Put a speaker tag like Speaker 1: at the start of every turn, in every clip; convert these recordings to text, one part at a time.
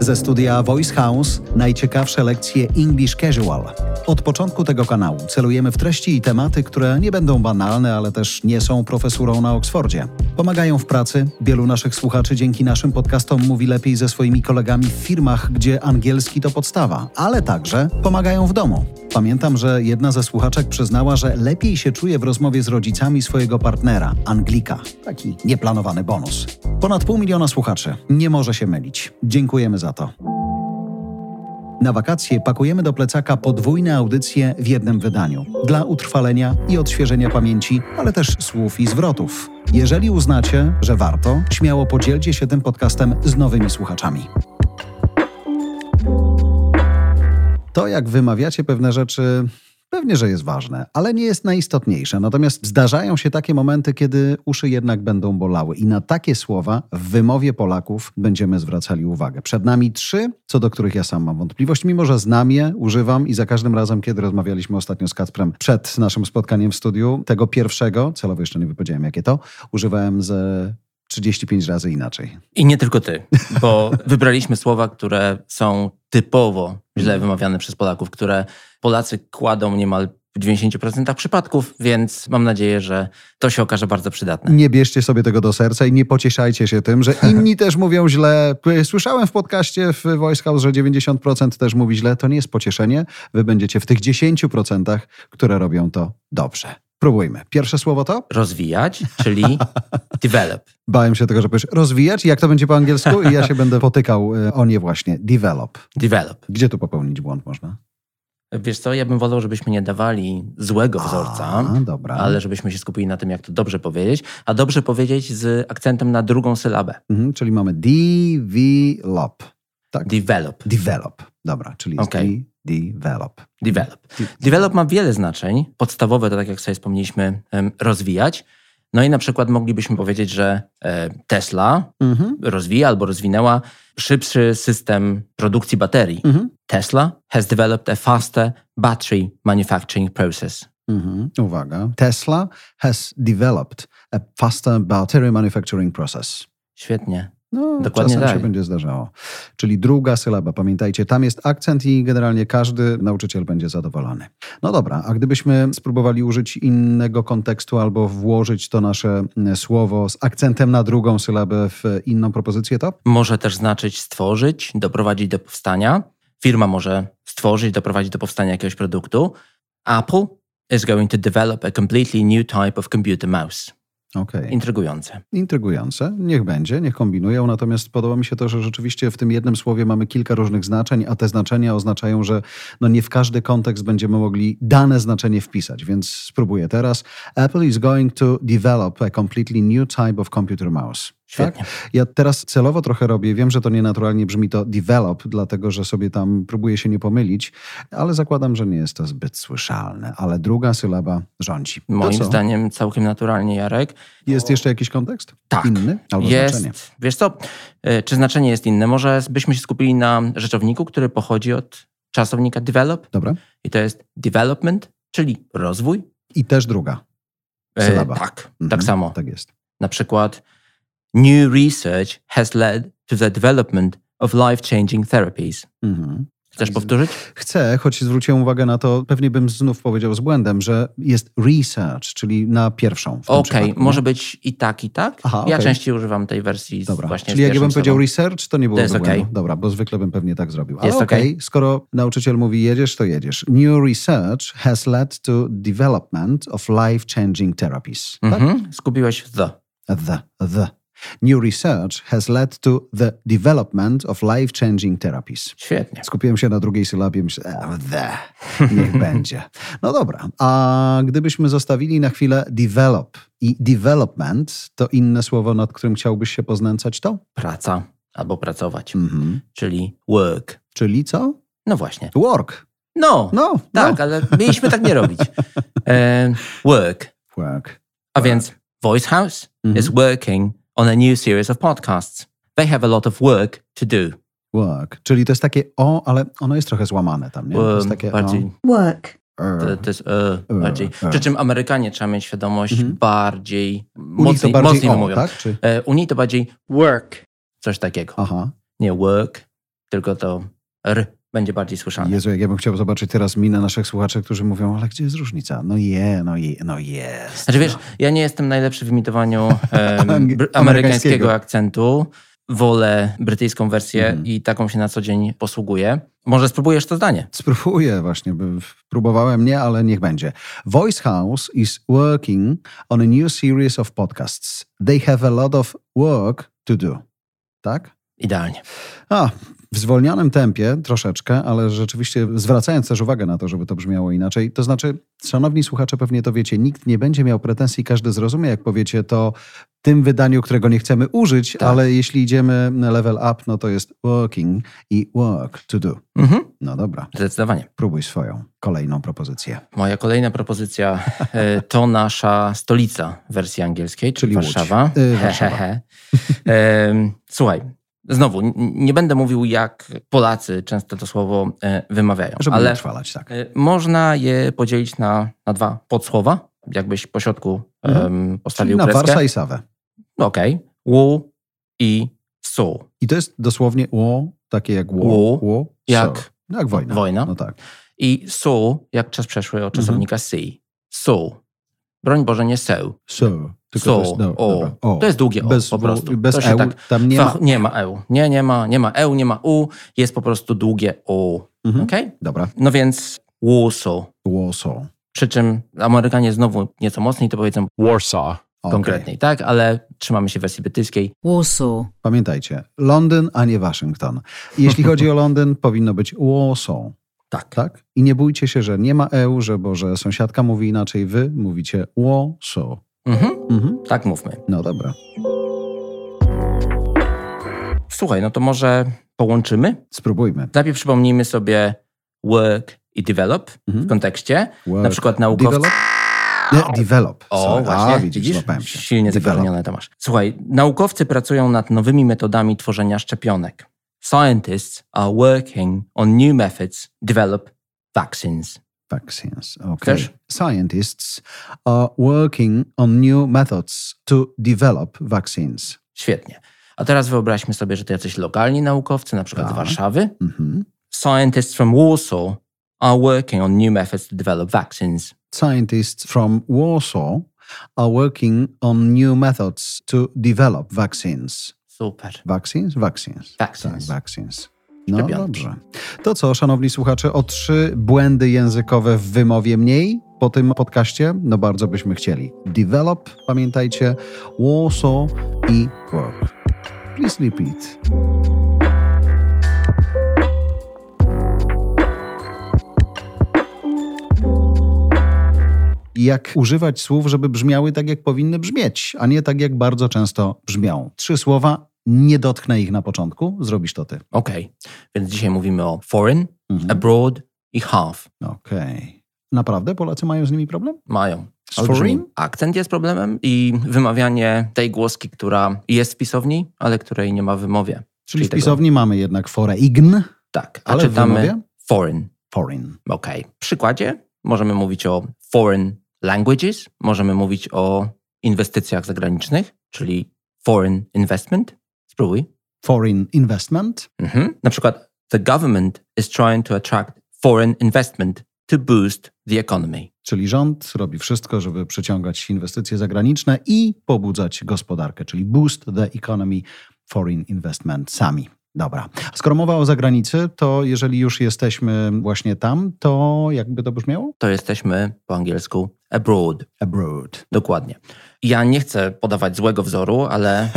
Speaker 1: Ze studia Voice House najciekawsze lekcje English Casual. Od początku tego kanału celujemy w treści i tematy, które nie będą banalne, ale też nie są profesurą na Oksfordzie. Pomagają w pracy. Wielu naszych słuchaczy dzięki naszym podcastom mówi lepiej ze swoimi kolegami w firmach, gdzie angielski to podstawa, ale także pomagają w domu. Pamiętam, że jedna ze słuchaczek przyznała, że lepiej się czuje w rozmowie z rodzicami swojego partnera, Anglika. Taki nieplanowany bonus. Ponad pół miliona słuchaczy. Nie może się mylić. Dziękujemy za to. Na wakacje pakujemy do plecaka podwójne audycje w jednym wydaniu dla utrwalenia i odświeżenia pamięci, ale też słów i zwrotów. Jeżeli uznacie, że warto, śmiało podzielcie się tym podcastem z nowymi słuchaczami. To, jak wymawiacie pewne rzeczy, pewnie, że jest ważne, ale nie jest najistotniejsze. Natomiast zdarzają się takie momenty, kiedy uszy jednak będą bolały, i na takie słowa w wymowie Polaków będziemy zwracali uwagę. Przed nami trzy, co do których ja sam mam wątpliwość, mimo że znam je, używam i za każdym razem, kiedy rozmawialiśmy ostatnio z Kacprem przed naszym spotkaniem w studiu, tego pierwszego, celowo jeszcze nie wypowiedziałem jakie to, używałem ze 35 razy inaczej.
Speaker 2: I nie tylko ty, bo wybraliśmy słowa, które są typowo źle wymawiane przez Polaków, które Polacy kładą niemal w 90% przypadków, więc mam nadzieję, że to się okaże bardzo przydatne.
Speaker 1: Nie bierzcie sobie tego do serca i nie pocieszajcie się tym, że inni też mówią źle. E, Słyszałem w podcaście w Voice House, że 90% też mówi źle. To nie jest pocieszenie. Wy będziecie w tych 10%, które robią to dobrze. Próbujmy. Pierwsze słowo to?
Speaker 2: Rozwijać, czyli develop.
Speaker 1: Bałem się tego, że powiesz rozwijać. Jak to będzie po angielsku? I ja się będę potykał e, o nie właśnie. Develop.
Speaker 2: Develop.
Speaker 1: Gdzie tu popełnić błąd można?
Speaker 2: Wiesz co, ja bym wolał, żebyśmy nie dawali złego wzorca,
Speaker 1: A, dobra.
Speaker 2: ale żebyśmy się skupili na tym, jak to dobrze powiedzieć, a dobrze powiedzieć z akcentem na drugą sylabę.
Speaker 1: Mhm, czyli mamy develop. Tak.
Speaker 2: Develop.
Speaker 1: Develop. Dobra, czyli jest
Speaker 2: Okej.
Speaker 1: de- develop.
Speaker 2: Develop. Develop ma wiele znaczeń. Podstawowe to, tak jak sobie wspomnieliśmy, em, rozwijać. No i na przykład moglibyśmy powiedzieć, że e, Tesla
Speaker 1: Mhm.
Speaker 2: rozwija albo rozwinęła szybszy system produkcji baterii.
Speaker 1: Mhm.
Speaker 2: Tesla has developed a faster battery manufacturing process.
Speaker 1: Mhm. Uwaga. Tesla has developed a faster battery manufacturing process.
Speaker 2: Świetnie.
Speaker 1: No,
Speaker 2: Dokładnie
Speaker 1: czasem
Speaker 2: tak.
Speaker 1: się będzie zdarzało. Czyli druga sylaba, pamiętajcie, tam jest akcent i generalnie każdy nauczyciel będzie zadowolony. No dobra, a gdybyśmy spróbowali użyć innego kontekstu albo włożyć to nasze mm, słowo z akcentem na drugą sylabę w inną propozycję, to?
Speaker 2: Może też znaczyć stworzyć, doprowadzić do powstania. Firma może stworzyć, doprowadzić do powstania jakiegoś produktu. Apple is going to develop a completely new type of computer mouse.
Speaker 1: Okej.
Speaker 2: Intrygujące.
Speaker 1: Intrygujące, niech będzie, niech kombinują. Natomiast podoba mi się to, że rzeczywiście w tym jednym słowie mamy kilka różnych znaczeń, a te znaczenia oznaczają, że no nie w każdy kontekst będziemy mogli dane znaczenie wpisać. Więc spróbuję teraz. Apple is going to develop a completely new type of computer mouse.
Speaker 2: Świetnie.
Speaker 1: Ja teraz celowo trochę robię, wiem, że to nienaturalnie brzmi to develop, dlatego że sobie tam próbuję się nie pomylić, ale zakładam, że nie jest to zbyt słyszalne. Ale druga sylaba rządzi. To
Speaker 2: Moim
Speaker 1: co?
Speaker 2: zdaniem całkiem naturalnie, Jarek.
Speaker 1: Jest jeszcze jakiś kontekst?
Speaker 2: Tak.
Speaker 1: Inny? Albo
Speaker 2: jest,
Speaker 1: znaczenie?
Speaker 2: wiesz co, y, czy znaczenie jest inne? Może byśmy się skupili na rzeczowniku, który pochodzi od czasownika develop
Speaker 1: Dobra.
Speaker 2: i to jest development, czyli rozwój.
Speaker 1: I też druga.
Speaker 2: Y,
Speaker 1: Sylaba.
Speaker 2: Tak,
Speaker 1: Mhm,
Speaker 2: tak samo.
Speaker 1: Tak jest.
Speaker 2: Na przykład new research has led to the development of life-changing therapies.
Speaker 1: Mhm.
Speaker 2: Chcesz powtórzyć?
Speaker 1: Chcę, choć zwróciłem uwagę na to, pewnie bym znów powiedział z błędem, że jest research, czyli na pierwszą. w tym
Speaker 2: Okej,
Speaker 1: przypadku.
Speaker 2: może być i tak, i tak.
Speaker 1: Aha,
Speaker 2: ja
Speaker 1: okej.
Speaker 2: częściej używam tej wersji z-
Speaker 1: Dobra,
Speaker 2: właśnie
Speaker 1: czyli
Speaker 2: z
Speaker 1: jakbym
Speaker 2: pierwszą
Speaker 1: powiedział
Speaker 2: osobą.
Speaker 1: research, to nie byłoby
Speaker 2: jest
Speaker 1: błędu.
Speaker 2: okej.
Speaker 1: Dobra, bo zwykle bym pewnie tak zrobił. Ale
Speaker 2: Jest
Speaker 1: okej,
Speaker 2: okej.
Speaker 1: skoro nauczyciel mówi jedziesz, to jedziesz. New research has led to development of life-changing therapies. Tak?
Speaker 2: Mhm, skupiłeś w the.
Speaker 1: The, the. New research has led to the development of life-changing therapies.
Speaker 2: Świetnie.
Speaker 1: Skupiłem się na drugiej sylabie, myślę, e, the, niech będzie. No dobra, a gdybyśmy zostawili na chwilę develop i development, to inne słowo, nad którym chciałbyś się poznęcać, to?
Speaker 2: Praca albo pracować,
Speaker 1: Mhm.
Speaker 2: czyli work.
Speaker 1: Czyli co?
Speaker 2: No właśnie.
Speaker 1: Work.
Speaker 2: No,
Speaker 1: No,
Speaker 2: tak,
Speaker 1: No.
Speaker 2: ale mieliśmy tak nie robić. E, work.
Speaker 1: Work.
Speaker 2: A więc Voice House
Speaker 1: Tak. Mhm.
Speaker 2: is working on a new series of podcasts. They have a lot of work to do.
Speaker 1: Work. Czyli to jest takie o, er. ale ono jest trochę złamane tam, nie? To jest
Speaker 2: Um,
Speaker 1: takie o.
Speaker 2: bardziej
Speaker 3: work,
Speaker 2: To, to jest e,
Speaker 1: E,
Speaker 2: bardziej.
Speaker 1: e.
Speaker 2: Przy czym Amerykanie trzeba mieć świadomość
Speaker 1: Mhm.
Speaker 2: bardziej,
Speaker 1: U nich to
Speaker 2: mocniej,
Speaker 1: bardziej
Speaker 2: mocniej
Speaker 1: o,
Speaker 2: mówią.
Speaker 1: tak? Czy...
Speaker 2: E, Unii to bardziej work, coś takiego.
Speaker 1: Aha.
Speaker 2: Nie work, tylko to r będzie bardziej słyszane.
Speaker 1: Jezu, jak ja bym chciał zobaczyć teraz minę naszych słuchaczy, którzy mówią, ale gdzie jest różnica? No je, no je, no jest.
Speaker 2: Znaczy wiesz, ja nie jestem najlepszy w imitowaniu em,
Speaker 1: Angi-
Speaker 2: br-
Speaker 1: amerykańskiego.
Speaker 2: amerykańskiego akcentu. Wolę brytyjską wersję
Speaker 1: Mhm.
Speaker 2: i taką się na co dzień posługuję. Może spróbujesz to zdanie.
Speaker 1: Spróbuję właśnie, by- próbowałem nie, ale niech będzie. Voice House is working on a new series of podcasts. They have a lot of work to do. Tak?
Speaker 2: Idealnie.
Speaker 1: A, w zwolnionym tempie troszeczkę, ale rzeczywiście zwracając też uwagę na to, żeby to brzmiało inaczej. To znaczy, szanowni słuchacze, pewnie to wiecie, nikt nie będzie miał pretensji, każdy zrozumie, jak powiecie to w tym wydaniu, którego nie chcemy użyć,
Speaker 2: Tak.
Speaker 1: ale jeśli idziemy na level up, no to jest working i work to do.
Speaker 2: Mhm.
Speaker 1: No dobra,
Speaker 2: Zdecydowanie.
Speaker 1: próbuj swoją kolejną propozycję.
Speaker 2: Moja kolejna propozycja e, to nasza stolica w wersji angielskiej, czyli,
Speaker 1: Czyli Łódź.
Speaker 2: Warszawa.
Speaker 1: Y,
Speaker 2: He,
Speaker 1: Warszawa.
Speaker 2: he, he. Em, Słuchaj, znowu, n- nie będę mówił jak Polacy często to słowo e, wymawiają,
Speaker 1: Żeby nie
Speaker 2: ale
Speaker 1: utrwalać, tak.
Speaker 2: e, można je podzielić na, na dwa podsłowa, jakbyś po środku
Speaker 1: Mhm.
Speaker 2: em,
Speaker 1: Czyli
Speaker 2: postawił
Speaker 1: na
Speaker 2: kreskę.
Speaker 1: Warsa i Sawę.
Speaker 2: No Okej. Łu i su.
Speaker 1: I to jest dosłownie ło, takie jak ło.
Speaker 2: Ło,
Speaker 1: ło
Speaker 2: jak-
Speaker 1: so. jak wojna.
Speaker 2: wojna.
Speaker 1: No tak.
Speaker 2: I su, jak czas przeszły
Speaker 1: Mhm.
Speaker 2: od czasownika si. Su. Broń Boże, nie seł.
Speaker 1: So, tylko
Speaker 2: So,
Speaker 1: to jest, no,
Speaker 2: o.
Speaker 1: dobra, o.
Speaker 2: To jest długie o
Speaker 1: bez,
Speaker 2: po
Speaker 1: w-
Speaker 2: prostu.
Speaker 1: Bez
Speaker 2: to tak
Speaker 1: eł, tam nie
Speaker 2: nie,
Speaker 1: ma.
Speaker 2: ma. nie ma eł. Nie, nie ma, nie ma eł, nie ma u. Jest po prostu długie o.
Speaker 1: Mhm.
Speaker 2: Okej?
Speaker 1: Dobra,
Speaker 2: No więc wu, su.
Speaker 1: Warsaw.
Speaker 2: Przy czym Amerykanie znowu nieco mocniej to powiedzą
Speaker 3: Warsaw.
Speaker 1: Okej.
Speaker 2: konkretniej, tak? Ale trzymamy się wersji brytyjskiej.
Speaker 4: Warsaw,
Speaker 1: Pamiętajcie, Londyn, a nie Waszyngton. I Jeśli chodzi o Londyn, powinno być Warsaw,
Speaker 2: Tak.
Speaker 1: tak? I nie bójcie się, że nie ma EU, że Boże, sąsiadka mówi inaczej, wy mówicie Warsaw.
Speaker 2: Mhm.
Speaker 1: Mhm.
Speaker 2: Tak mówmy.
Speaker 1: No dobra.
Speaker 2: Słuchaj, no to może połączymy?
Speaker 1: Spróbujmy.
Speaker 2: Najpierw przypomnijmy sobie work i develop
Speaker 1: Mhm.
Speaker 2: w kontekście.
Speaker 1: Work.
Speaker 2: Na przykład naukowcy...
Speaker 1: Develop? Nie, develop.
Speaker 2: O,
Speaker 1: Sorry.
Speaker 2: Oh, właśnie,
Speaker 1: A, widzisz,
Speaker 2: widzisz?
Speaker 1: złapałem się.
Speaker 2: Silnie
Speaker 1: Develop.
Speaker 2: zagarnione, Tomasz. Słuchaj, naukowcy pracują nad nowymi metodami tworzenia szczepionek. Scientists are working on new methods develop vaccines.
Speaker 1: Vaccines. Okay.
Speaker 2: Chcesz?
Speaker 1: Scientists are working on new methods to develop vaccines.
Speaker 2: Świetnie. A teraz wyobraźmy sobie, że to jacyś lokalni naukowcy, na przykład z
Speaker 1: Tak.
Speaker 2: Warszawy.
Speaker 1: Mhm.
Speaker 2: Scientists from Warsaw are working on new methods to develop vaccines.
Speaker 1: scientists from Warsaw are working on new methods to develop vaccines.
Speaker 2: Super.
Speaker 1: Vaccines? Vaccines.
Speaker 2: Vaccines.
Speaker 1: Tak, vaccines. No
Speaker 2: Szczepionki.
Speaker 1: dobrze. To co, szanowni słuchacze, o trzy błędy językowe w wymowie mniej po tym podcaście? No bardzo byśmy chcieli. Develop, pamiętajcie, Warsaw i work. Please repeat. jak używać słów, żeby brzmiały tak, jak powinny brzmieć, a nie tak, jak bardzo często brzmią. Trzy słowa, nie dotknę ich na początku, zrobisz to ty.
Speaker 2: Okej, więc dzisiaj mówimy o foreign,
Speaker 1: Mhm.
Speaker 2: abroad i half.
Speaker 1: Okej. Naprawdę Polacy mają z nimi problem?
Speaker 2: Mają.
Speaker 1: Z
Speaker 2: Olbrzymi
Speaker 1: foreign?
Speaker 2: akcent jest problemem i wymawianie tej głoski, która jest w pisowni, ale której nie ma w wymowie.
Speaker 1: Czyli w
Speaker 2: tego-
Speaker 1: pisowni mamy jednak foreign,
Speaker 2: Tak, a
Speaker 1: ale w
Speaker 2: czytamy
Speaker 1: wymowie
Speaker 2: foreign.
Speaker 1: foreign.
Speaker 2: Okej. W przykładzie możemy mówić o foreign languages, możemy mówić o inwestycjach zagranicznych, czyli foreign investment. Spróbuj.
Speaker 1: Foreign investment.
Speaker 2: Mhm. Na przykład the government is trying to attract foreign investment to boost the economy.
Speaker 1: Czyli rząd robi wszystko, żeby przyciągać inwestycje zagraniczne i pobudzać gospodarkę, czyli boost the economy, foreign investment sami. Dobra. Skoro mowa o zagranicy, to jeżeli już jesteśmy właśnie tam, to jakby to brzmiało?
Speaker 2: To jesteśmy po angielsku abroad.
Speaker 1: Abroad.
Speaker 2: Dokładnie. Ja nie chcę podawać złego wzoru, ale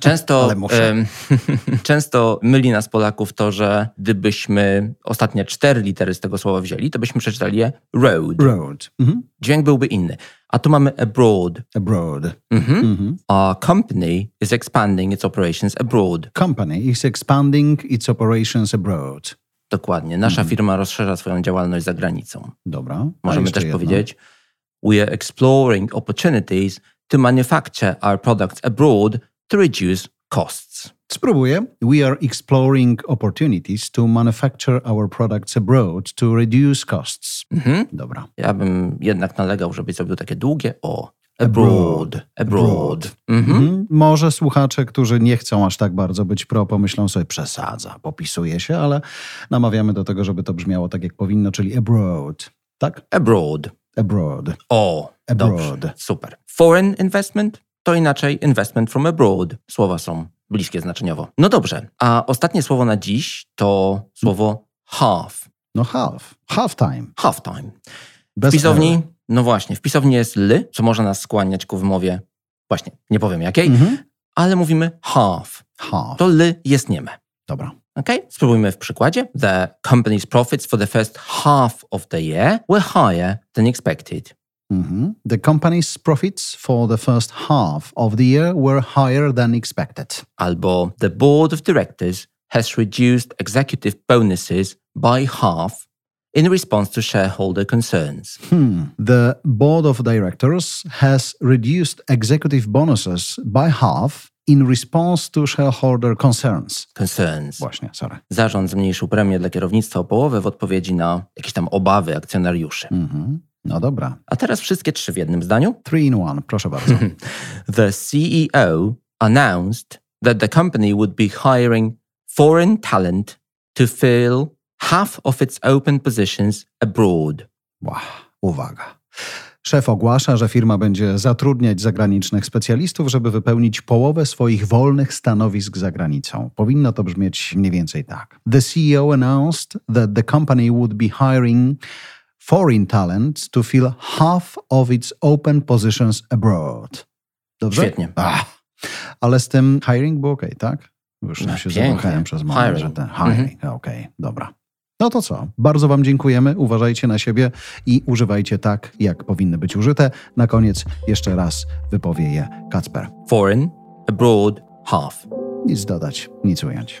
Speaker 2: często,
Speaker 1: Ale muszę.
Speaker 2: em, często myli nas Polaków to, że gdybyśmy ostatnie cztery litery z tego słowa wzięli, to byśmy przeczytali je road.
Speaker 1: Road. Mhm.
Speaker 2: Dźwięk byłby inny. A tu mamy abroad.
Speaker 1: Abroad.
Speaker 2: Mhm.
Speaker 1: Mhm.
Speaker 2: A company is expanding its operations abroad.
Speaker 1: Company is expanding its operations abroad.
Speaker 2: Dokładnie. Nasza
Speaker 1: Mhm.
Speaker 2: firma rozszerza swoją działalność za granicą.
Speaker 1: Dobra. A
Speaker 2: Możemy
Speaker 1: jeszcze
Speaker 2: też
Speaker 1: jedno.
Speaker 2: powiedzieć we are exploring opportunities to manufacture our products abroad to reduce costs.
Speaker 1: Spróbuję. We are exploring opportunities to manufacture our products abroad to reduce costs.
Speaker 2: Mhm.
Speaker 1: Dobra.
Speaker 2: Ja bym jednak nalegał, żebyś zrobił takie długie o.
Speaker 1: Abroad.
Speaker 2: Abroad. Abroad. Mhm.
Speaker 1: Mhm. Może słuchacze, którzy nie chcą aż tak bardzo być pro, pomyślą sobie przesadza, popisuje się, ale namawiamy do tego, żeby to brzmiało tak jak powinno, czyli abroad. Tak?
Speaker 2: Abroad.
Speaker 1: Abroad.
Speaker 2: O.
Speaker 1: Abroad.
Speaker 2: Dobrze. Super. Foreign investment to inaczej investment from abroad. Słowa są bliskie znaczeniowo. No dobrze. A ostatnie słowo na dziś to słowo half.
Speaker 1: No half. Half time.
Speaker 2: Half time.
Speaker 1: Bez
Speaker 2: W pisowni,
Speaker 1: R.
Speaker 2: no właśnie, w pisowni jest ly, co może nas skłaniać ku wymowie, właśnie, nie powiem jakiej,
Speaker 1: Mhm.
Speaker 2: ale mówimy half.
Speaker 1: Half.
Speaker 2: To ly jest nieme.
Speaker 1: Dobra.
Speaker 2: Okay? Spróbujmy w przykładzie. The company's profits for the first half of the year were higher than expected.
Speaker 1: Mhm. The company's profits for the first half of the year were higher than expected.
Speaker 2: Albo the board of directors has reduced executive bonuses by half in response to shareholder concerns.
Speaker 1: Hmm. The board of directors has reduced executive bonuses by half in response to shareholder concerns.
Speaker 2: Concerns.
Speaker 1: Właśnie, sorry.
Speaker 2: Zarząd zmniejszył premię dla kierownictwa o połowę w odpowiedzi na jakieś tam obawy akcjonariuszy.
Speaker 1: Mhm. No dobra.
Speaker 2: A teraz wszystkie trzy w jednym zdaniu.
Speaker 1: Three in one, proszę bardzo.
Speaker 2: The CEO announced that the company would be hiring foreign talent to fill half of its open positions abroad.
Speaker 1: Wow, uwaga. Szef ogłasza, że firma będzie zatrudniać zagranicznych specjalistów, żeby wypełnić połowę swoich wolnych stanowisk za granicą. Powinno to brzmieć mniej więcej tak. The CEO announced that the company would be hiring foreign talent to fill half of its open positions abroad. Dobrze?
Speaker 2: Świetnie.
Speaker 1: Ach, ale z tym hiring było okej, tak? Już
Speaker 2: No,
Speaker 1: się
Speaker 2: pięknie.
Speaker 1: zawahałem przez moment,
Speaker 2: Hiring.
Speaker 1: że ten hiring, okej, dobra. No to co? Bardzo Wam dziękujemy. Uważajcie na siebie i używajcie tak, jak powinny być użyte. Na koniec jeszcze raz wypowie je Kacper.
Speaker 2: Foreign, abroad, half.
Speaker 1: Nic dodać, nic ująć.